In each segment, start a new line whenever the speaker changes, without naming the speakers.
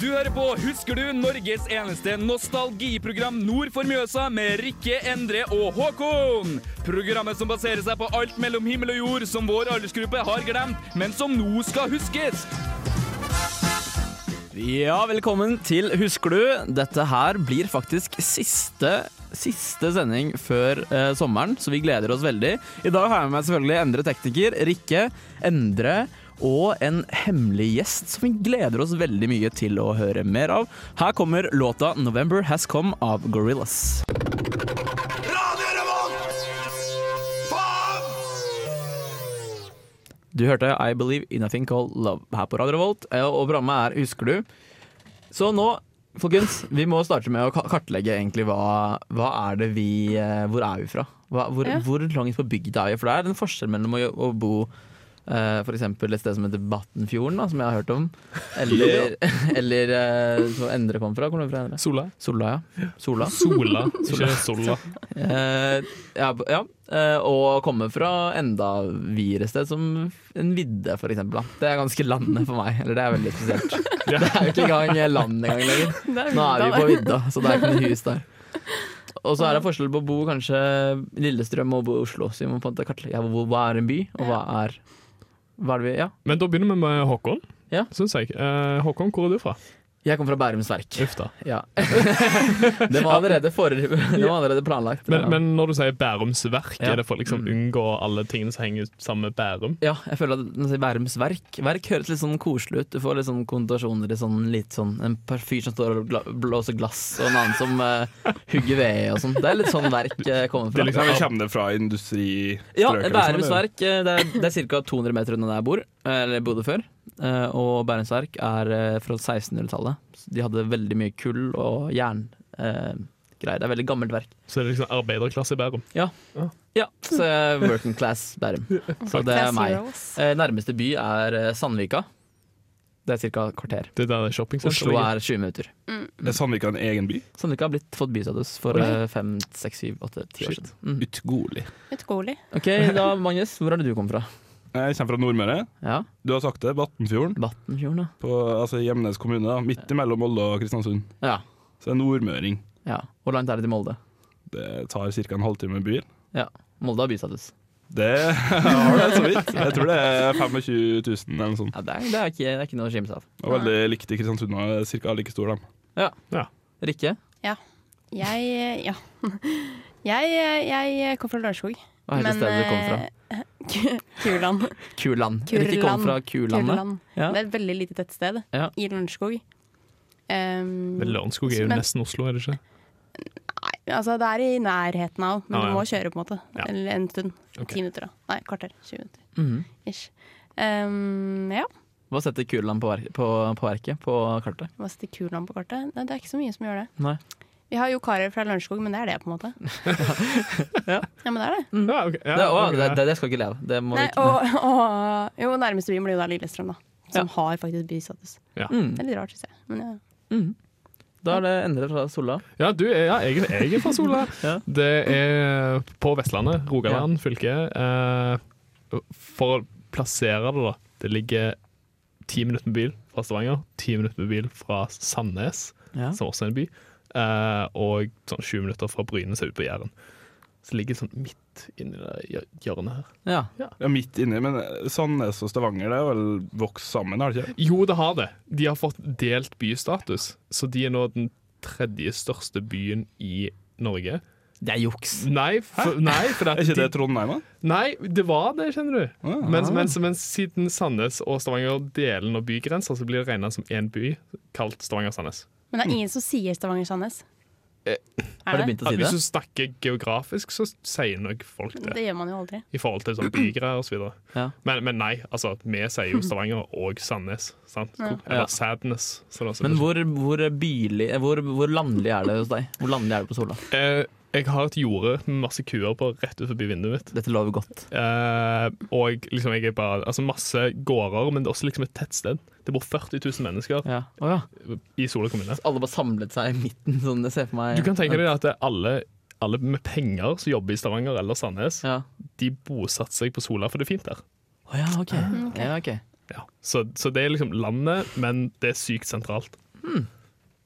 Du hører på Husker du? Norges eneste nostalgiprogram nord for Mjøsa med Rikke, Endre og Håkon. Programmet som baserer seg på alt mellom himmel og jord som vår aldersgruppe har glemt, men som nå skal huskes.
Ja, velkommen til Husker du. Dette her blir faktisk siste, siste sending før eh, sommeren, så vi gleder oss veldig. I dag har jeg med meg selvfølgelig Endre Tekniker, Rikke, Endre og en hemmelig gjest som vi gleder oss veldig mye til å høre mer av. Her kommer låta 'November Has Come' av Gorillas. Du hørte I Believe In A Thing Called Love her på Radio Revolt, eh, og programmet er Husker du? Så nå, folkens, vi må starte med å ka- kartlegge egentlig hva, hva er det vi eh, Hvor er vi fra? Hva, hvor,
Ja.
hvor langt på bygda er vi? For det er en forskjell mellom å, jo- å bo eh, for eksempel et sted som heter Battenfjorden, da, som jeg har hørt om. Eller, eller eh, som Endre kom fra. Hvor kommer du fra, Endre?
Sola.
Sola, ja. Sola.
Sola, ikke Sola.
Eh, ja, b- ja. Eh, og komme fra enda videre sted, som en vidde f.eks. Det er ganske landet for meg. Eller det er veldig spesielt. Det er jo ikke engang land engang lenger. Nå er vi på vidda, så det er ikke noe hus der. Og så er det forskjell på å bo kanskje Lillestrøm og bo i Oslo. Så vi må på en måte kartlegge hvor- hva er en by, og hva er hva er det vi, ja.
Men da begynner vi med Håkon,
Ja.
syns jeg. Eh, Håkon, hvor er du fra?
Jeg kommer fra Bærums Verk.
Uff da.
Ja. Det var allerede, forrige, det var allerede planlagt.
Men,
Ja.
men når du sier Bærums verk,
Ja. Mm.
er det for å liksom unngå alle tingene som henger sammen med Bærum?
Ja, jeg føler at når jeg sier Bærums verk Verk høres litt sånn koselig ut. Du får litt sånn konnotasjoner i sånn litt sånn En par fyr som står og gla blåser glass, og en annen som eh, hugger ved og sånn. Det er litt sånn verk jeg kommer fra.
Det er liksom-
Ja, men Kommer det fra industristrøket?
ja,
liksom,
Bærums
eller?
verk eh, det er, det er ca. 200 meter unna der jeg bor, eller bodde før. Eh, Og Bærums verk er eh, fra 1600-tallet. Så De hadde veldig mye kull og jerngreier. Det er veldig gammelt verk.
Så er det liksom arbeiderklasse i Bærum.
Ja, så jeg er working class Bærum. Så det er meg. Eh, Nærmeste by er eh, Sandvika. Det er ca. kvarter.
Det er der det er shoppingsenteret.
Oslo
ligger.
er 20 minutter.
liksom. Er Sandvika en egen by?
Sandvika har blitt fått bystatus for
Oi.
eh, fem, seks, syv, åtte, ti år
Shit.
siden. Mm.
Utgolig.
Utgåelig.
Ok, da Magnus, hvor er det du kom fra?
Jeg kommer fra Nordmøre.
Ja,
Du har sagt det, Battenfjorden.
Battenfjorden,
På altså, Gjemnes kommune. da. Midt imellom Molde og Kristiansund.
da. Ja,
Så det er nordmøring.
ja. Hvor langt er det til Molde?
Det tar ca. en halvtime med bil.
Ja, Molde har bystatus.
Det har det så vidt. Jeg tror det er 25 000 eller noe sånt.
Ja, det, er, det, er ikke, det er ikke noe å skimse av.
Og veldig likt i Kristiansund. og det er Cirka like stor, de.
Rikke,
Jeg eh, Ja. Jeg, eh, jeg kom fra Lørenskog.
hva heter stedet du kom fra?
fra? Kurland.
Kuland. Rikke kom
eh, Kurland.
fra Kulandet.
Kurland.
Ja.
Det er et veldig lite tettsted
Ja.
i Lørenskog. Um,
Men Lørenskog er jo
Men-
nesten Oslo, er det ikke?
nei, altså det er i nærheten av, men
Ah,
du
ja.
må kjøre på en måte.
Ja.
Eller en stund. Ti
Ok.
minutter, da. Nei, kvarter. 20 minutter.
Mhm.
Ish. Um, ja.
Hva setter Kuland på, verk, på, på verket, på kartet?
Hva setter Kurland på kartet? Nei, det er ikke så mye som gjør det.
Nei.
Vi har jo karer fra Lørenskog, men det er det, på en måte.
Ja.
men det er det.
Ja, ok. ja,
Mm. det, å,
ok.
det, det, det skal ikke leve. Det må vi
Nei,
ikke.
og, og, jo, nærmeste byen blir jo da Lillestrøm, da. Som har faktisk bystatus.
Mm,
Det er litt rart, syns jeg. Men ja.
mm. Da er det Endre fra Sola.
Ja, du er, ja, jeg, jeg er fra Sola.
Ja.
Det er på Vestlandet, Rogaland fylke. Eh, for å plassere det, da. Det ligger ti minutter med bil fra Stavanger, ti minutter med bil fra Sandnes,
Ja.
som også er en by, eh, og sånn sju minutter fra Bryne, som er ute på Jæren. Så det ligger sånn midt inni det hjør- hjørnet her.
Ja.
Ja, midt inni, men Sandnes og Stavanger det er vel vokst sammen, har det ikke?
Jo, det har det. De har fått delt bystatus, så de er nå den tredje største byen i Norge.
Det er juks.
Nei, for, nei, for
Er ikke det Trondheim, da?
Nei, det var det, kjenner du.
Ja.
Mens, mens, mens siden Sandnes og Stavanger deler nå bygrenser, så blir det regna som én by, kalt Stavanger-Sandnes.
Men det er ingen som sier Stavanger-Sandnes.
Eh,
Mm.
Er
Har du
det?
begynt å si det?
Hvis du snakker geografisk, så sier nok folk det.
Det gjør man jo aldri.
I forhold til sånn bygreier osv. Så videre.
Ja.
men, men nei, altså, vi sier jo Stavanger og Sandnes. Sant?
Ja.
Eller Sadness. som det også
Men
betyr.
hvor, hvor, bylig, hvor, hvor landlig er det hos deg? Hvor landlig er det på Sola?
Eh, jeg har et jorde med masse kuer på rett ut forbi vinduet mitt.
Dette lover godt.
Eh, og liksom jeg er bare, altså masse gårder, men det er også liksom et tettsted. Det bor 40 000 mennesker
Ja. Å ja.
i Sola kommune.
Alle bare samlet seg i midten, sånn jeg ser for meg.
Du kan tenke deg at det er alle, alle med penger som jobber i Stavanger eller Sandnes,
Ja.
de bosatte seg på Sola, for det er fint der.
Mm,
Å ja, OK. Ja, ok.
Ja. Så, så det er liksom landet, men det er sykt sentralt.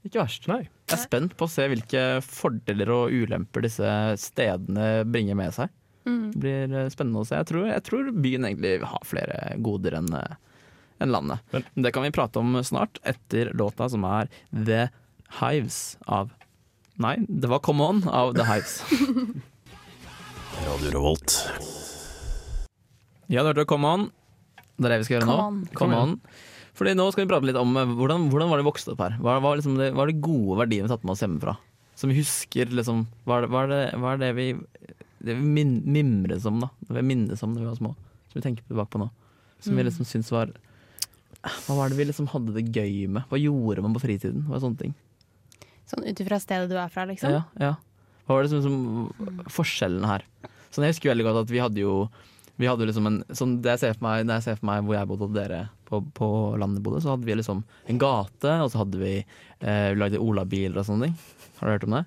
Ikke verst.
Nei.
Jeg er spent på å se hvilke fordeler og ulemper disse stedene bringer med seg. Det blir eh, spennende å se. Jeg tror, jeg tror byen egentlig har flere goder enn eh, enn landet.
Men-
Men det kan vi prate om snart, etter låta som er The Hives av Nei, det var Come On av The Hives.
Radio Revolt.
Ja, du hørte Come On. Det er det vi skal gjøre
Come
nå.
on.
Come on. Fordi nå skal vi prate litt om eh, hvordan, hvordan var det vi vokste opp her. Hva hva var, liksom det, hva er de gode verdiene vi tatt med oss hjemmefra? Som vi husker, liksom. Hva er det, hva er det, hva er det vi, det vi min, mimres om, da? Det vi minnes om da vi var små. Som vi tenker tilbake på nå. Som
Mm.
vi liksom syns var Hva var det vi liksom hadde det gøy med? Hva gjorde man på fritiden? Hva er sånne ting?
Sånn ut ifra stedet du er fra, liksom.
Ja, ja. Hva var det som, som forskjellen her? Sånn, jeg husker veldig godt at vi hadde jo vi hadde jo liksom en, sånn det jeg ser for meg, Når jeg ser for meg hvor jeg bodde og dere på, på landet bodde, så hadde vi liksom en gate, og så hadde vi eh, vi lagde olabiler og sånne ting. Har du hørt om det?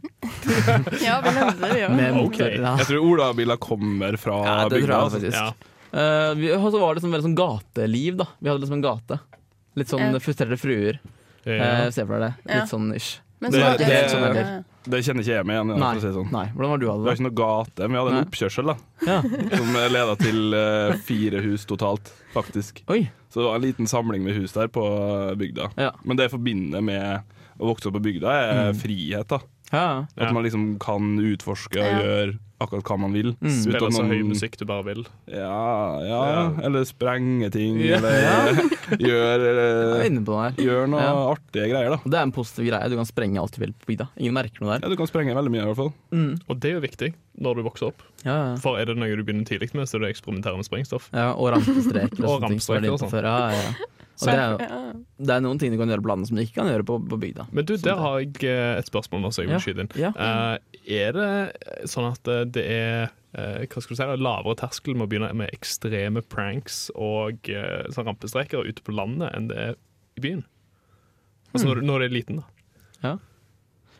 Ja, vi nevnte det, vi òg.
Med
Ok.
motor- ja.
Jeg tror olabiler kommer fra
Ja, det
bygda.
tror jeg
altså.
faktisk.
Ja.
Eh, vi, og så var det liksom veldig sånn gateliv, da. Vi hadde liksom en gate. Litt sånn
Ja.
frustrerte fruer. Eh,
Ja.
se for deg det.
Ja.
Litt sånn ish.
Men
Det-
så var
det-
det
det- sånn er det.
Ja.
Det kjenner ikke jeg meg igjen i.
Nei,
for å si det sånn.
nei. Hvordan var du
Det var
hadde det?
ikke noe gate, men vi hadde
Nei.
en oppkjørsel da
Ja.
som leda til eh, fire hus totalt, faktisk.
Oi.
Så det var en liten samling med hus der på eh, bygda.
Ja.
Men det jeg forbinder med å vokse opp på bygda, er frihet. da
Ja.
At
Ja.
man liksom kan utforske og
Ja.
gjøre akkurat hva man vil.
Mm.
uten at
Spille så høy
noen-
musikk du bare vil.
Ja, ja,
Ja.
eller sprenge ting,
Ja.
eller gjør,
Jeg
eh,
er inne på den her.
gjør noe
Ja.
artige greier, da.
Og Det er en positiv greie. Du kan sprenge alt du vil på bygda. Ingen merker noe der.
Ja, Du kan sprenge veldig mye, i hvert fall.
Mm.
Og det er jo viktig når du vokser opp.
Ja, ja.
For er det noe du begynner tidlig med, så er det å eksperimentere med sprengstoff.
ja, og rampestreker og
Og
sånne ting. som er
rampestreker og
innenfor. Ja, ja, ja. Og det, er,
Ja.
jo- det er noen ting du kan gjøre på landet som du ikke kan gjøre på, på bygda.
Men du,
Sånn
der
det.
har jeg eh, et spørsmål nå, så jeg
Ja,
må skyte inn.
ja.
Eh, er det eh, sånn at eh, det er eh, hva skal du si, da, lavere terskel med å begynne med ekstreme pranks og eh, sånn rampestreker ute på landet enn det er i byen?
Hmm.
Altså når, du- når du er liten, da.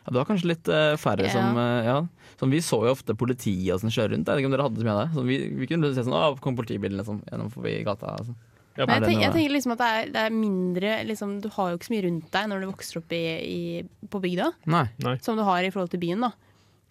Ja, det var kanskje litt eh, færre
Ja.
som eh, ja. Sånn, Vi så jo ofte politiet og sånn kjøre rundt. Jeg vet ikke om dere hadde så mye av det. Sånn, vi, vi kunne se sånn Å, kom politibilen liksom, gjennom forbi gata. og sånn.
Ja,
Er
Men jeg,
det
tenker, jeg
noe-
tenker liksom at det er, det er mindre liksom, Du har jo ikke så mye rundt deg når du vokser opp i, i, på bygda,
Nei.
som du har i forhold til byen. da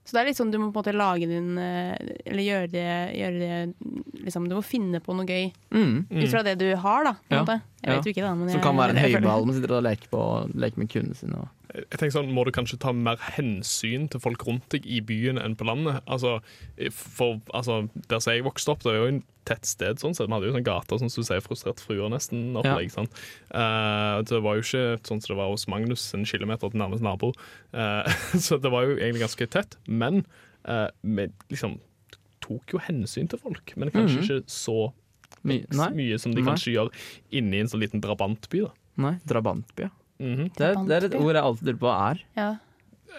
Så det er litt sånn, du må på en måte lage din eh, Eller gjøre det, gjøre det liksom, Du må finne på noe gøy
Mm.
ut fra det du har, da. På en
Ja.
måte. Jeg
Ja.
vet jo ikke, da. Men
Som
jeg,
kan være en
jeg føler-
høyball man sitter og leker på og leker med kundene sine. Og.
Jeg tenker sånn, Må du kanskje ta mer hensyn til folk rundt deg i byen enn på landet? Altså, for, altså Der som jeg vokste opp, det var jo en tett sted. sånn sett. Vi hadde jo sånn gater som du sier, frustrert fruer nesten. opplegg, sant? Eh, det var jo ikke sånn som det var hos Magnus, en kilometer til nærmeste nabo. Eh, så det var jo egentlig ganske tett. Men eh, vi liksom tok jo hensyn til folk. Men kanskje
Mhm.
ikke så
My, nei,
mye som de
Nei.
kanskje gjør inne i en sånn liten drabantby. da.
nei. Drabantby, ja.
Mhm.
Det, er- det er et ord jeg alltid lurer på hva er.
Ja.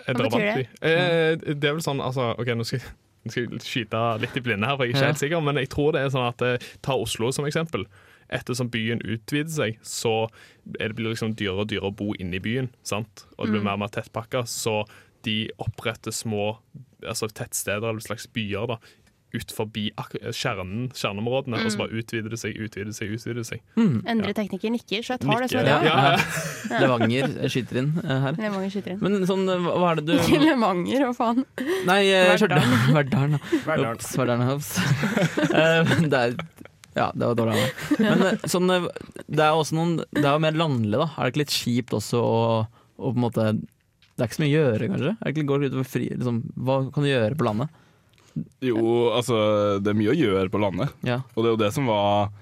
Et
Hva betyr
drabantby. Eh, det er vel sånn, altså, ok, nå skal, jeg- nå skal jeg skyte litt i blinde her, for jeg er ikke
Ja.
helt sikker, men jeg tror det er sånn at, eh, ta Oslo som eksempel. Ettersom byen utvider seg, så er det blir det liksom dyrere og dyrere å bo inne i byen, sant? Og
Mm.
det blir mer og mer tettpakka, så de oppretter små altså tettsteder eller slags byer da, ut forbi ak- kjernen, kjerneområdene,
Mm.
og så bare utvider det seg, utvider det seg, utvider det seg.
Endre teknikker nikker, så jeg tar det som
Nikke.
et ja.
Ja, ja.
Levanger skyter inn eh, her.
Lemanger skyter inn.
Men sånn, hva hva er det du
Ikke Lemanger, hva faen.
Nei, eh, Stjørdal.
Verdalen.
Verdalen. ja. Ops, Verdalen, ja, ops. Eh, det er ja, det var dårlig av meg. Men eh, sånn, eh, det er også noen Det er jo mer landlig, da. Er det ikke litt kjipt også å, å på en måte Det er ikke så mye å gjøre, kanskje? Er det ikke, går det utover fri liksom, Hva kan du gjøre på landet?
Jo, altså, det er mye å gjøre på landet,
Ja.
og det er jo det som var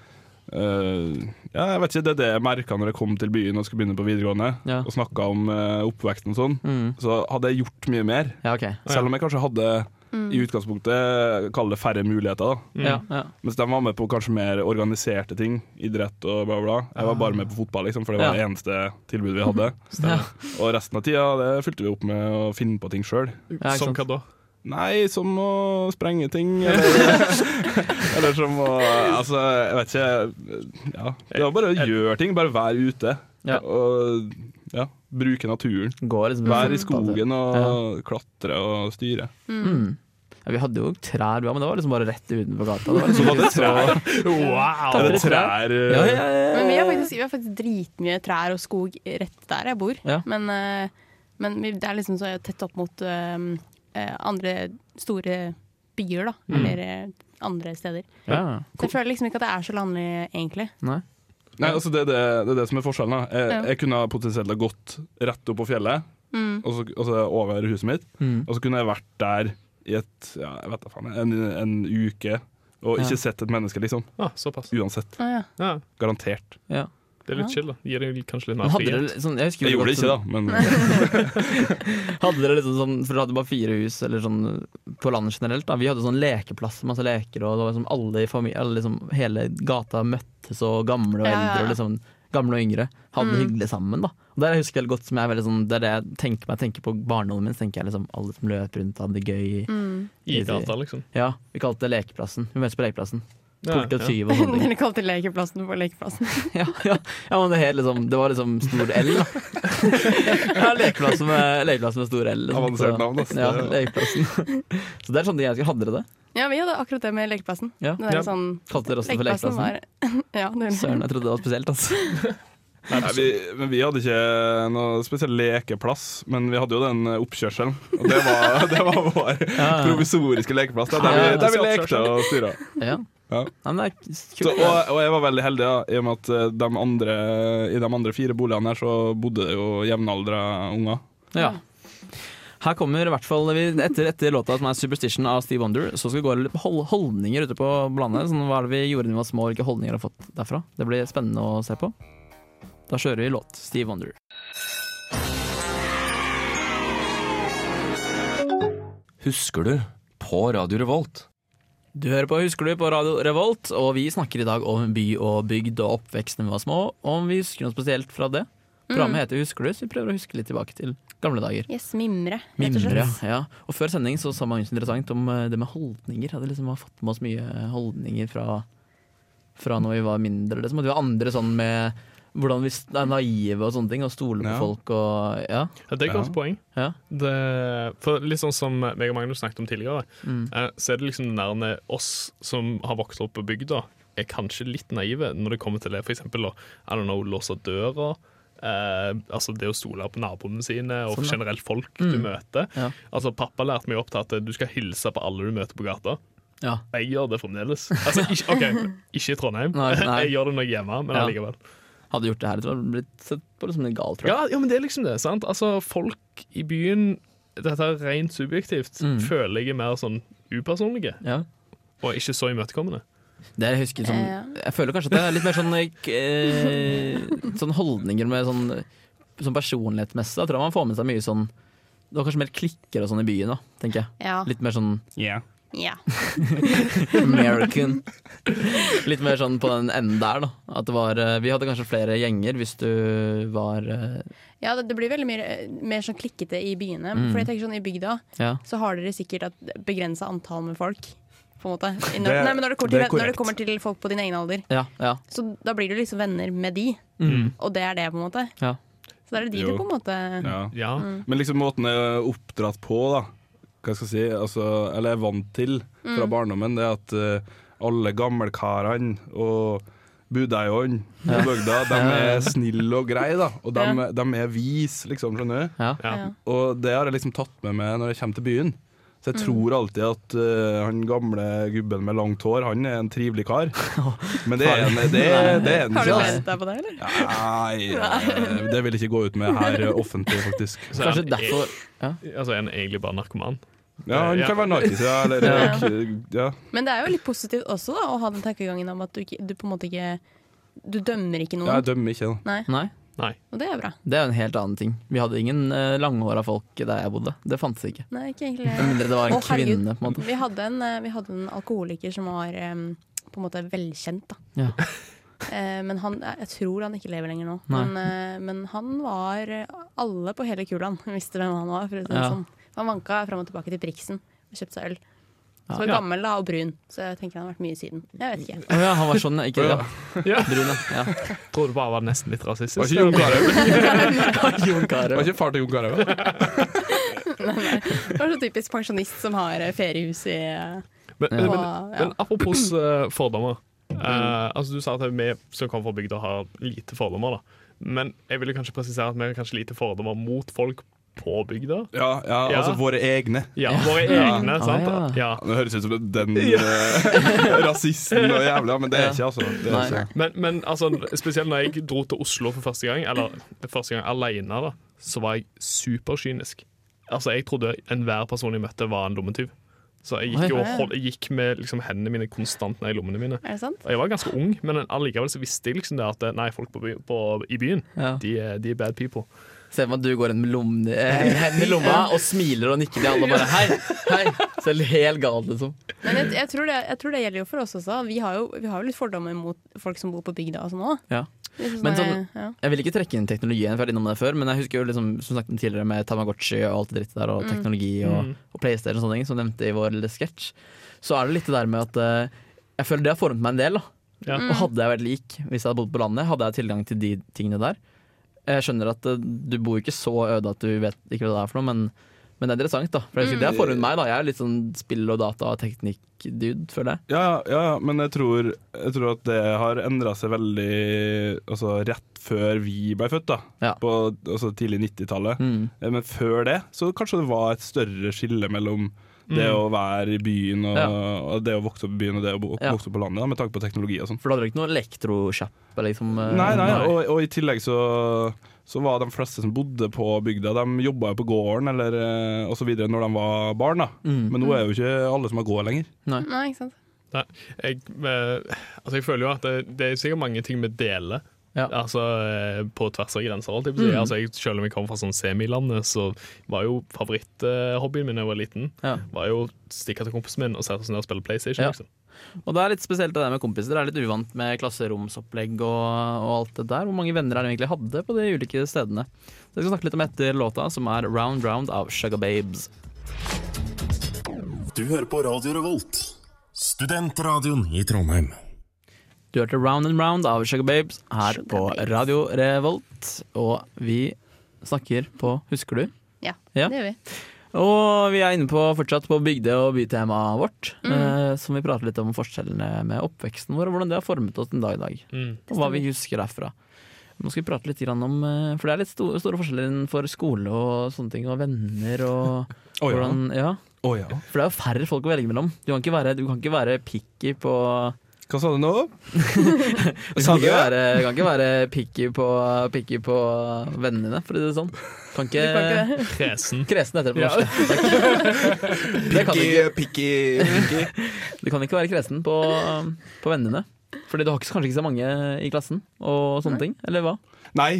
eh, ja, jeg vet ikke, Det er det jeg merka når jeg kom til byen og skulle begynne på videregående.
Ja.
Og snakka om eh, oppveksten og sånn.
Mm.
Så hadde jeg gjort mye mer.
ja, OK.
Selv om jeg kanskje hadde i utgangspunktet kall det færre muligheter. da
Ja, ja.
Mens de var med på kanskje mer organiserte ting. Idrett og bla, bla. Jeg var bare med på fotball, liksom, for det var
Ah. Ja.
det eneste tilbudet vi hadde.
ja.
Og resten av tida det fylte vi opp med å finne på ting sjøl.
ikke sånn
Som
sant.
hva da?
Nei, som å sprenge ting, eller, eller som å Altså, jeg vet ikke. Ja. Det var bare å gjøre ting. Bare være ute.
Ja.
Og ja, bruke naturen.
Går liksom
Være i skogen og klatre og styre.
Mm. Ja, vi hadde jo trær, vi, men det var liksom bare rett utenfor gata. Det var
Så
liksom
var det
ikke så-
trær.
Wow!
Er det trær eh,
Ja, ja, ja, ja.
Men vi har faktisk vi har faktisk dritmye trær og skog rett der jeg bor.
Ja.
Men, eh, men vi- det er liksom så tett opp mot eh, eh, andre store byer, da.
Mm.
Eller eh, andre steder.
Ja.
Så jeg føler liksom ikke at det er så landlig, egentlig.
Nei.
Nei, altså det, er det, det er det som er forskjellen. da. Jeg,
Ja.
jeg kunne ha potensielt ha gått rett opp på fjellet,
Mm.
og så, og så over huset mitt.
Mm.
Og så kunne jeg vært der i et, ja, jeg vet da faen, en, en uke og
Ja.
ikke sett et menneske, liksom.
Ah, såpass.
Uansett.
Å ja.
Ja,
Garantert.
Ja.
det er litt chill, da. Gir deg kanskje litt
Men
mer
hadde
frihet.
dere sånn, jeg husker
Jeg gjorde det
godt
ikke, da,
sånn-
men
Hadde dere liksom sånn, for dere hadde bare fire hus eller sånn, på landet generelt. Da. Vi hadde sånn lekeplass med masse leker, og det var liksom alle i familie, alle liksom, hele gata møttes, og gamle og
Ja, ja,
eldre og
ja. Mm.
liksom, gamle og yngre hadde det hyggelig sammen. da. Og der jeg husker veldig godt, som jeg er veldig sånn, Det er det jeg tenker meg, tenker på barndommen min, så tenker jeg liksom alle som løp rundt og hadde det gøy.
Mm.
I gata, liksom.
Ja, Vi kalte det lekeplassen. Vi møttes på lekeplassen.
Ja,
Polka
ja.
tyv og sånne ting.
Dere kalte lekeplassen for lekeplassen.
Ja, ja. ja men det, het liksom, det var liksom stor L, da. Ja, lekeplassen med, lekeplassen med stor L. Liksom.
Avansert navn,
altså.
altså.
Ja, lekeplassen. Så det er sånne ting jeg husker. Hadde dere det?
Ja, vi hadde akkurat det med lekeplassen.
Ja.
Det der
Ja.
sånn
Kalte dere også for lekeplassen?
var Ja, det
Søren, jeg trodde det var spesielt, altså.
Nei, vi, men vi hadde ikke noe spesiell lekeplass, men vi hadde jo den eh, oppkjørselen. Og det var, det var vår provisoriske lekeplass, da, der,
Ja, ja,
vi, der vi
ja.
lekte og styra.
Ja.
Ja.
Nei, men det er kult.
Så, og, og jeg var veldig heldig, da, i og med at eh, de andre, i de andre fire boligene her så bodde det jo jevnaldra unger.
Ja. Her kommer i hvert fall vi, etter, etter låta som er 'Superstition' av Steve Wonder, så skal vi gå litt på hold- holdninger ute på landet. Sånn, hva er det vi gjorde da vi var små, og hvilke holdninger vi har fått derfra. Det blir spennende å se på. Da kjører vi låt 'Steve Wonder'.
Husker du? På Radio Revolt.
Du hører på Husker du på Radio Revolt, og vi snakker i dag om by og bygd og oppvekst da vi var små, og om vi husker noe spesielt fra det. Programmet heter Husker du, så vi prøver å huske litt tilbake til gamle dager.
Yes, mimre. rett og slett.
Mimre, ja. Og før sending så sa Magnus interessant om eh, det med holdninger. Hadde liksom fått med oss mye holdninger fra, fra når vi var mindre. Liksom. At vi var andre sånn med hvordan vi er naive og sånne ting, og stoler på
Ja.
folk og ja.
Ja, det er et godt
Ja.
poeng.
ja.
Det, for litt sånn som meg og Magnus snakket om tidligere,
Mm.
eh, så er det liksom den der med oss som har vokst opp på bygda, er kanskje litt naive når det kommer til det. For eksempel å I don't know, låse døra. Eh, altså Det å stole på naboene sine og
Sånn, ja.
generelt folk du møter.
Ja.
Altså Pappa lærte meg opp til at eh, du skal hilse på alle du møter på gata.
ja.
Jeg gjør det fremdeles. Altså, ikke, ok, ikke i Trondheim.
Nei, nei.
Jeg gjør det når jeg er hjemme, men
Ja.
allikevel.
Hadde gjort det her, tror jeg hadde blitt sett på som litt gal, tror jeg.
Ja, ja, men det er liksom det. sant? Altså, Folk i byen Dette er rent subjektivt. Føler jeg er mer sånn upersonlige
Ja.
og ikke så imøtekommende.
Det jeg husker som
Eh, Ja.
Jeg føler kanskje at det er litt mer sånn k- eh, Sånn holdninger med sånn Sånn personlighetsmessig. Da tror jeg man får med seg mye sånn Det var kanskje mer klikker og sånn i byen, da, tenker jeg.
Ja.
Litt mer sånn
ja.
American. Litt mer sånn på den enden der, da. At det var eh, Vi hadde kanskje flere gjenger hvis du var eh,
ja det, det blir veldig mye eh, mer sånn klikkete i byene.
Mm.
For jeg tenker sånn i bygda
Ja.
så har dere sikkert et begrensa antall med folk. På en måte. I Når,
Det-
nei, men når det, kommer
det
til,
er
når
korrekt.
det kommer til folk på din egen alder,
Ja. ja,
så da blir du liksom venner med de. Og det er det, på en måte.
Mm. ja.
Så da er det de
Jo.
du på en måte
Ja.
Ja,
Men liksom måten jeg er oppdratt på, da, hva skal jeg si, altså, eller er vant til fra barndommen, det er at eh, alle gammelkarene og budeierne i bygda, de er snille og greie, da. Og de,
Ja.
de er vis, liksom, skjønner du.
ja.
ja.
Ja.
Og det har jeg liksom tatt med meg når jeg kommer til byen. Så jeg tror alltid at eh, han gamle gubben med langt hår, han er en trivelig kar. Men det er han det, er- det er han
Har du
ikke.
brent
altså.
deg på det, eller?
Nei, eh, det vil jeg ikke gå ut med her eh, offentlig, faktisk.
Så
Kanskje
er han
derfor ja.
e- Altså, er han egentlig bare narkoman?
Ja, han
Ja.
kan være narkis, ja. Eller, ja.
Men det er jo litt positivt også da, å ha den tankegangen om at du, ikke, du på en måte ikke Du dømmer ikke
ja, jeg
noen,
dømmer ikke. Da.
Nei,
Nei.
Nei.
og det er bra.
Det er jo en helt annen ting. Vi hadde ingen uh, langhåra folk der jeg bodde. Det fantes ikke.
Nei, ikke egentlig.
Med mindre det var en
Å, herregud.
kvinne, på en måte.
Vi hadde en, eh, vi hadde en alkoholiker som var em, på en måte velkjent, da.
Ja.
Eh, Men han, jeg tror han ikke lever lenger nå.
Nei.
Men, eh, men han var eh, Alle på hele kulaen visste hvem han var. For å si det
Ja.
sånn. Han vanka fram og tilbake til Briksen og kjøpte seg øl. Så var
Ja.
gammel da, og brun, så jeg tenker han har vært mye siden. Jeg vet ikke.
Å ja, han var sånn, ikke ja.
Ja.
Brun, ja.
Tror du bare var nesten litt rasistisk?
Var ikke Jon Carew?
ja. Jon
Var
Carew.
ikke far til Jon Carew? ja?
Nei, nei. Det var så typisk pensjonist som har eh, feriehus i eh,
Men, men,
Åh, ja.
men apropos eh, fordommer. Eh, Eh, altså Du sa at vi som kommer fra bygda har lite fordommer, da. Men jeg vil jo kanskje presisere at vi har kanskje lite fordommer mot folk på bygda.
Ja, ja,
Ja.
altså våre egne.
Ja, våre egne, sant?
Ah,
ja.
Det høres ut som den eh, rasisten og jævla, men det er ikke altså. Det er
Nei.
ikke.
Men, men altså, spesielt når jeg dro til Oslo for første gang, eller første gang alene, da, så var jeg superkynisk. Altså, jeg trodde enhver person jeg møtte, var en lommetyv. Så jeg gikk, jo, og hold, jeg gikk med liksom, hendene mine konstant ned i lommene mine.
Er det sant?
Og jeg var ganske ung, men allikevel så visste jeg liksom det at nei, folk på by, på, i byen,
Ja.
de, er- de er bad people.
Se for meg at du går inn med lommen, eh, hendene i lomma og smiler og nikker til alle og bare hei, hei. Selv helt gal, liksom.
Men jeg, jeg, tror det, jeg tror det gjelder jo for oss også. Vi har jo, vi har jo litt fordommer mot folk som bor på bygda og sånn òg.
Ja. Men
Sånn, ja.
Jeg vil ikke trekke inn teknologien, for jeg har vært innom det før, men jeg husker jo liksom, som snakket om tidligere med Tamagotchi og alt det drittet der, og
Mm.
teknologi og, og PlayStation og sånne ting, som jeg nevnte i vår lille sketsj. Så er det litt det der med at eh, jeg føler det har formet meg en del. da.
Ja.
Og hadde jeg vært lik hvis jeg hadde bodd på landet, hadde jeg tilgang til de tingene der. Jeg skjønner at eh, du bor jo ikke så øde at du vet ikke hva det er for noe, men, men det er interessant, da. For jeg husker, det har
Mm.
formet meg, da. Jeg er litt sånn spill- og data- og teknikk-dude, føler jeg.
Ja, ja, ja, men jeg tror, jeg tror at det har endra seg veldig altså, rett før vi ble født, da.
Ja.
På altså, tidlig 90-tallet.
Mm.
Eh, Men før det så kanskje det var et større skille mellom det å være i byen og,
Mm. Ja.
og det å vokse opp i byen og det å bo-
Ja.
vokse opp på landet, da, med tanke på teknologi og sånn.
For du hadde jo ikke noe elektrosjappe, liksom. eh,
Nei, nei, og, og i tillegg så, så var de fleste som bodde på bygda, de jobba jo på gården eller eh, og så videre når de var barn, da.
Mm.
Men nå er jo ikke alle som har gård lenger.
Nei, ikke sant?
Nei, jeg, eh, altså jeg føler jo at det, det er sikkert mange ting vi deler.
Ja.
Altså eh, På tvers av grenser. Alt, jeg vil si.
Mm.
altså, jeg, selv om jeg kommer fra sånn semilandet, så var jo favoritthobbyen min da jeg var liten,
Ja.
Var jo å stikke til kompisen min og sette oss ned og spille PlayStation.
Ja.
Liksom.
Og det er litt spesielt det der med kompiser. Det er litt uvant med klasseromsopplegg og, og alt det der. Hvor mange venner er det egentlig hadde på de ulike stedene? Så jeg skal snakke litt om etter låta, som er Round Round av Sugar Babes.
Du hører på Radio Revolt, studentradioen i Trondheim.
Du hørte Round and Round av Sugar Babes her
Sugar
på
Babes.
Radio Revolt. Og vi snakker på Husker du?
Ja,
Ja.
det gjør vi.
Og vi er inne på fortsatt på bygde- og bytemaet vårt.
Mm.
Eh, som vi prater litt om forskjellene med oppveksten vår, og hvordan det har formet oss den dag i dag.
Mm.
Og hva vi husker derfra. Nå skal vi prate litt grann om eh, For det er litt sto- store forskjeller innenfor skole og sånne ting, og venner og
Å ja.
hvordan ja.
Å ja.
For det er jo færre folk å velge mellom. Du kan ikke være, du kan ikke være picky på
Hva sa du nå?
Du
Sa
kan
du
ikke
det?
være, du kan ikke være picky, på, picky på vennene dine, for å si det sånn. Kan ikke,
Kan ikke
Eh,
det?
Kresen.
Kresen heter det på norsk. Takk. Det kan du ikke.
picky,
Du kan ikke være kresen på, på vennene. Fordi du har ikke, kanskje ikke så mange i klassen og sånne ting. Eller hva?
Nei,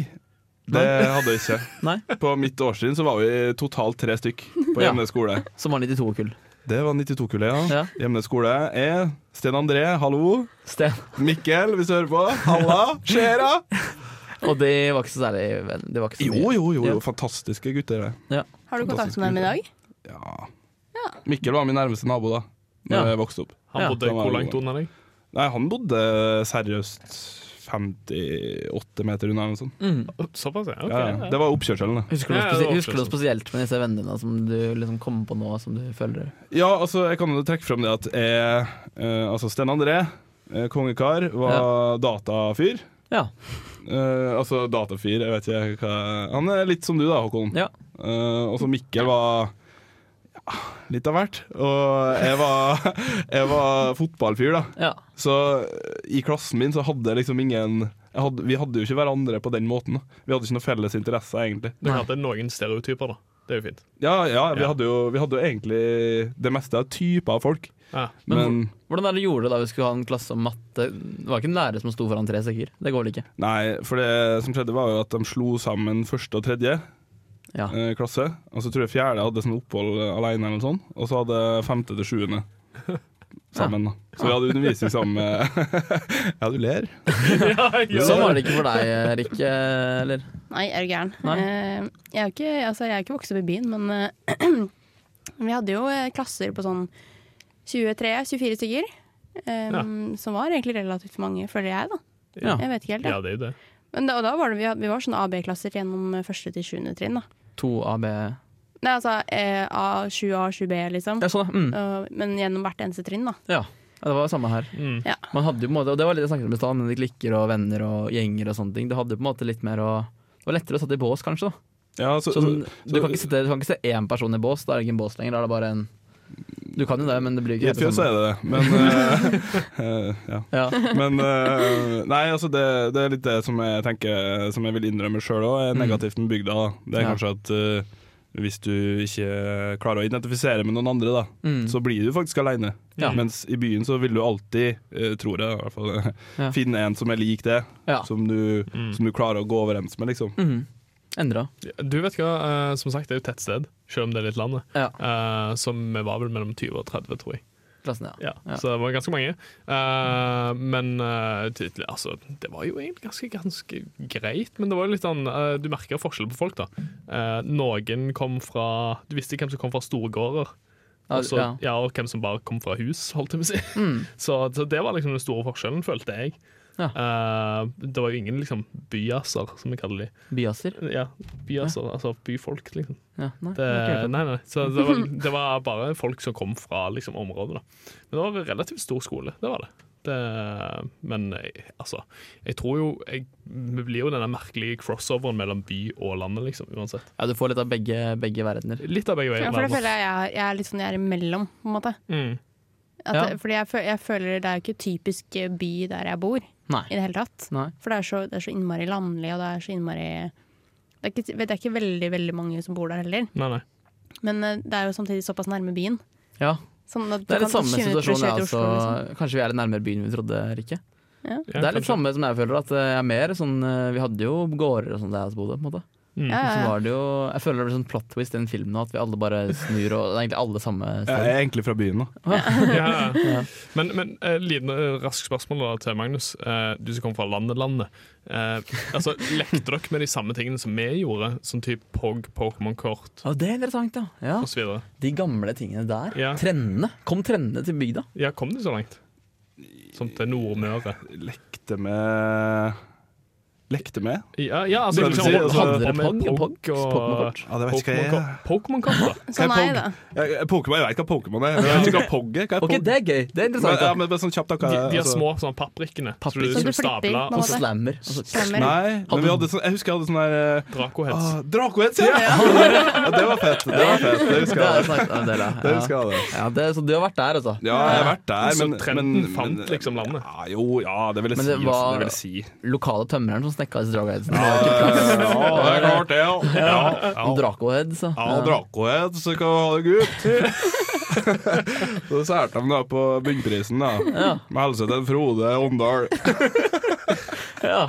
det hadde jeg ikke.
Nei.
På mitt årstrinn så var vi totalt tre stykk på
Ja.
Gjemnes skole.
Som var 92-kull.
Det var 92-kullet, ja.
Ja.
Gjemnes skole er Sten André, hallo.
Sten.
Mikkel, hvis du hører på. Halla. Skjer'a?
Og de var ikke så særlig venn. De var ikke så
Jo,
mye.
jo, jo,
Ja.
jo. Fantastiske gutter, det.
Har du kontakt
Fantastisk
med dem i dag?
Ja.
Ja.
Mikkel var min nærmeste nabo da Når
Ja.
jeg vokste opp.
Han
Ja.
bodde
Han var
hvor
jo-
langt unna deg?
Nei, han bodde seriøst 58 meter unna eller noe sånt.
Mm.
Å, Såpass, ja. ok.
Ja, ja. Det var oppkjørselen, da.
Husker du, noe
Ja, det var
spesielt, husker du noe
overraskende.
spesielt med disse vennene dine som du liksom kom på nå, som du føler
Ja, altså, jeg kan jo trekke fram det at jeg eh, Altså, Sten André, eh, kongekar, var datafyr.
Ja.
Eh, altså datafyr, jeg vet ikke hva Han er litt som du da, Håkon.
Ja.
Eh, og så Mikkel var ja, litt av hvert. Og jeg var, jeg var fotballfyr, da.
Ja.
Så eh, i klassen min så hadde jeg liksom ingen jeg hadde, Vi hadde jo ikke hverandre på den måten. da. Vi hadde ikke noen felles interesser, egentlig.
Du hadde noen stereotyper, da. Det er jo fint.
Ja, ja, vi,
Ja.
Hadde jo, vi hadde jo egentlig det meste av typer av folk.
Ja.
Men,
Men
Hvordan er det du gjorde det da vi skulle ha en klasse om matte? Det var ikke en lærer som sto foran tre stykker. Det går vel ikke?
nei, for det som skjedde, var jo at de slo sammen første og tredje
Ja.
eh, klasse. Og så tror jeg fjerde hadde sånn opphold eh, alene, eller noe sånt. Og så hadde femte til sjuende sammen. da. Så vi hadde undervisning sammen med Ja, du ler.
ja, ja.
Sånn var det ikke for deg, Rikke. Eller?
Nei, er du gæren.
Nei.
Eh, Jeg er jo ikke, altså, jeg er ikke vokst opp i byen, men eh, vi hadde jo eh, klasser på sånn 23-24 stykker. eh, Som var egentlig relativt mange, føler jeg, da.
Ja.
Jeg vet ikke helt,
ja,
jeg.
det er jo det.
Men da, og da var det, vi, had- vi var sånn AB-klasser gjennom eh, første til sjuende trinn, da.
To E. AB
Nei, altså eh, A7A, 7B, liksom.
Ja, sånn, ja. Mm.
Og- Men gjennom Øh, hvert eneste trinn, da.
Ja. Ja, det var det samme her.
Mm.
Ja.
Man hadde jo på en måte, og det var litt jeg snakket om i stad, med klikker og venner og gjenger og sånne ting. Det hadde på en måte litt mer å Det var lettere å sitte i bås, kanskje. da
Ja, så, så,
Sånn, du, kan ikke sitte, du kan ikke se én person i bås, da er det ikke en bås lenger. Da er det bare en Du kan jo det, men det blir jo
I
ikke
et fjøs så er det det, men eh, eh, Ja.
Ja.
Men eh, Nei, altså det, det er litt det som jeg tenker Som jeg vil innrømme sjøl òg, er negativt med bygda. da. Det er
Mm. Ja.
kanskje at eh, hvis du ikke klarer å identifisere med noen andre, da,
Mm.
så blir du faktisk aleine.
Ja.
Mens i byen så vil du alltid, eh, tror jeg, i hvert fall,
Ja.
finne en som er lik det.
Ja.
Som, du, som du klarer å gå overens med, liksom.
Mhm. Endra.
Du vet hva, eh, som sagt, det er jo tettsted, selv om det er litt landet.
Ja.
Eh, så vi var vel mellom 20 og 30, tror jeg.
Klassen, ja.
Ja. Så det var ganske mange. Eh, men eh, tydelig, altså, det var jo egentlig ganske, ganske greit. Men det var jo litt sånn, eh, du merker forskjell på folk, da. Eh, noen kom fra Du visste hvem som kom fra storgårder.
Ja,
Og så-
ja. Mm.
ja, og hvem som bare kom fra hus, holdt jeg på å si. Så, så det var liksom den store forskjellen, følte jeg.
Ja.
Eh, det var jo ingen liksom, byaser, som vi kaller de.
Biaser.
Ja, byaser, altså byfolk, liksom.
Ja, nei,
Det,
det har ikke jeg hørt om.
nei, nei. Så det var, det var bare folk som kom fra liksom, området. Da. Men det var en relativt stor skole, det var det. det men jeg, altså, jeg tror jo jeg, Vi blir jo denne merkelige crossoveren mellom by og landet, liksom, uansett.
ja, du får litt av begge, begge verdener.
Litt av begge veier.
Ja, for det
nærmest.
føler jeg jeg, jeg er litt sånn jeg er imellom, på en måte.
Mm.
At,
Ja.
det- Fordi jeg, føl- jeg føler det er jo ikke typisk eh, by der jeg bor, i
Nei.
det hele tatt.
nei.
For det er så, det er så innmari landlig, og det er så innmari det er, ikke, det er ikke veldig veldig mange som bor der heller,
Nei, nei.
men eh, det er jo samtidig såpass nærme byen.
Ja,
Sånn at
det er
du
litt
kan
samme
kjøre ut-
situasjon.
kjøre
Ja,
til
altså,
Oslo, liksom.
kanskje vi er litt nærmere byen enn vi trodde, Rikke.
Ja,
det er litt
kanskje.
samme som jeg føler, at jeg er mer sånn eh, Vi hadde jo gårder og sånn der jeg bodde, på en måte. Så
Ja, ja, ja.
var det jo Jeg føler det blir sånn plot twist i den filmen nå, at vi alle bare snur og Det er egentlig alle samme
Jeg
sted.
er egentlig fra byen, da.
Ja, ja. Men, men eh, liten eh, rask spørsmål da, til Magnus. Eh, du som kommer fra landet landet. Eh, altså, lekte dere med de samme tingene som vi gjorde? Som type POG, Pokémon-kort
Ja, det er interessant, ja. ja.
osv.?
De gamle tingene der.
Ja.
Trendene. Kom trendene til bygda.
Ja, kom du så langt? Som til Nordmøre?
Lekte med Lekte med?
Ja, ja
Det
altså,
vil si, altså-
hadde
Hadde
dere med
dere
POG
POG,
og
Pokémon-kort?
Ja, det vet ikke hva jeg er.
Pokémon-kort? Pokémon-kort, da.
Så
Hva
nei,
er
da.
Jeg, jeg- Pokémon, jeg vet ikke hva Pokémon er. Jeg vet ikke hva Pog er. Hva er
Ok,
Pog?
det er gøy. Det er
men,
interessant.
ja,
da.
men bare sånn kjapt, da.
De,
Hva er
de er
altså-
små sånn papprikkene. Så du
Papprikker.
liksom
Som du flipper, på
stabler
en
Og
og
måte.
slammer. Altså,
Stemmer.
Nei, men vi hadde sånn, jeg husker jeg hadde sånn der
Dracoheads.
ah, Dracoheads, ja! ja! Det var fett. Det var fett, det
det
husker
har
jeg.
jeg snakket om en del, ja.
Det husker jeg det.
Ja, det, så du har vært der, altså?
Ja, jeg har vært der,
Så
men
trenden
men- men-
fant liksom landet.
Ja, jo, ja, det vil jeg
Men
si.
det var-
altså, Det vil jeg si.
Lokale tømreren som snekka disse dragheadsene.
Ja,
Det var ikke plass.
det er klart det, ja. ja.
Noen Dracoheads. da.
Ja, Dracohead, så kan du ha det, gutt. Så særte de da på bunnprisen, da.
Ja.
Med helse til Frode Åndal.
Ja.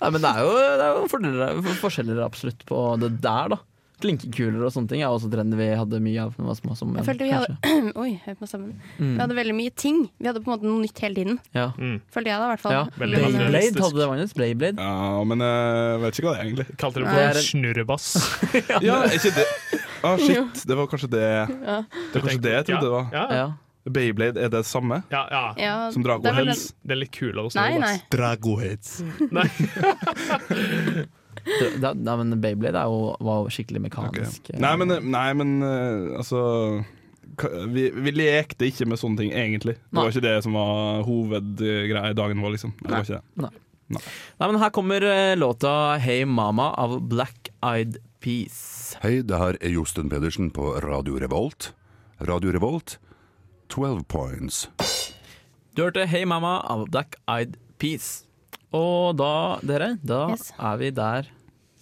Nei, men det er jo, det er jo fordeler, for- forskjeller absolutt på det der, da. Klinkekuler og sånne ting er også trender vi hadde mye av da vi var små. Som
Jeg følte vi hadde, oi, jeg hørte meg sammen.
Mm.
vi hadde veldig mye ting. Vi hadde på en måte noe nytt hele tiden.
Ja.
Følte jeg da, i hvert fall. eh,
ja.
Veldig
Beyblade
materialistisk.
hadde det, Magnus. Beyblade.
Ja, men eh, jeg vet ikke hva det er, egentlig.
Kalte det
Det
for
er en-
en snurrebass.
Ja, er ikke det Ah, shit. Det var kanskje det Det var kanskje det jeg trodde det var.
Ja, ja.
Ja.
Beyblade, er det samme?
ja, ja.
Ja,
Som Drago
det er vel den-
Hells.
Det er litt kulere
Nei, nei.
snurrebass.
Dragoheads.
Nei.
Det- det- Nei, men Beyblade er jo, var jo skikkelig mekanisk.
Nei, men, nei, men eh, altså ka- vi, vi lekte ikke med sånne ting, egentlig. Det
Nei.
var ikke det som var hovedgreia i dagen vår, liksom. Det var ikke det.
Nei, men her kommer eh, låta 'Hey Mama' av Black Eyed Peas.
Hei, det her er Josten Pedersen på Radio Revolt. Radio Revolt, 12 points.
Du hørte 'Hey Mama' av Black Eyed Peas. Og da, dere, da
Yes.
er vi der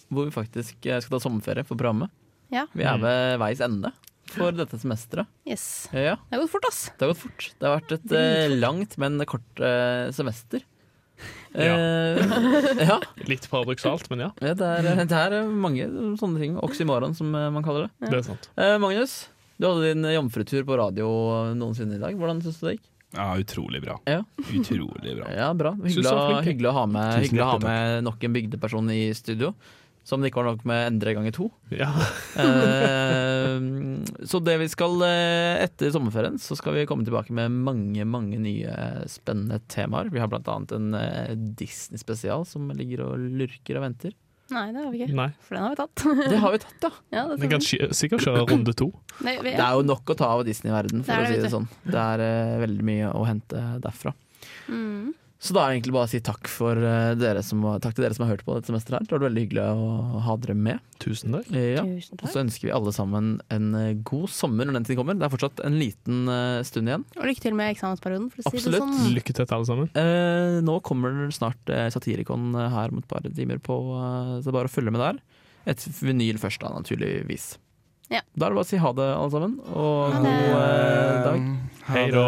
hvor vi faktisk eh, skal ta sommerferie for programmet.
Ja,
Vi er ved veis ende for dette semesteret.
yes.
Ja,
Det har gått fort, ass.
det har gått fort. Det har vært et eh, langt, men kort eh, semester.
Ja.
Eh, ja.
Litt paradoksalt, men ja.
ja, det er, det er mange sånne ting. Oksymoron, som eh, man kaller det.
Det er sant.
Eh, Magnus, du hadde din jomfrutur på radio noensinne i dag. Hvordan syns du det gikk?
Ja, utrolig bra.
Ja.
Utrolig bra.
Ja, bra.
Synes
Hyggelig,
du
å-
var flink, jeg.
hyggelig å ha med,
Tusen
hyggelig å ha
hjertelig
med nok en bygdeperson i studio. Som det ikke var nok med endre ganger to.
Ja.
Eh, så det vi skal eh, etter sommerferien, så skal vi komme tilbake med mange mange nye spennende temaer. Vi har bl.a. en eh, Disney-spesial som ligger og lurker og venter.
Nei, det har vi ikke.
Nei.
For den har vi tatt.
Det har vi tatt, ja.
ja, det
Den kan
stemmer.
sk- sikkert kjøre runde to.
Nei, vi,
Det er jo nok å ta av Disney-verden, for
Det er
å si
det,
det
vet
sånn. Det er eh, veldig mye å hente derfra.
Mm.
Så da er det egentlig bare å si takk, for, eh, dere som, har- takk til dere som har hørt på dette semesteret her. Det var veldig hyggelig å ha dere med.
Tusen takk.
Eh, Ja.
Tusen
Og
takk.
så ønsker vi alle sammen en eh, god sommer når den tid kommer. Det er fortsatt en liten eh, stund igjen.
Og lykke til med eksamensperioden, for å si
Absolutt.
det sånn.
Lykke til til alle sammen.
Eh, nå kommer snart eh, Satirikon eh, her om et par timer, på, eh, så det er bare å følge med der. Et vinyl først, da, naturligvis.
Ja.
Da er det bare å si ha det, alle sammen, og
Ha
god
det.
eh, dag.
Hei da.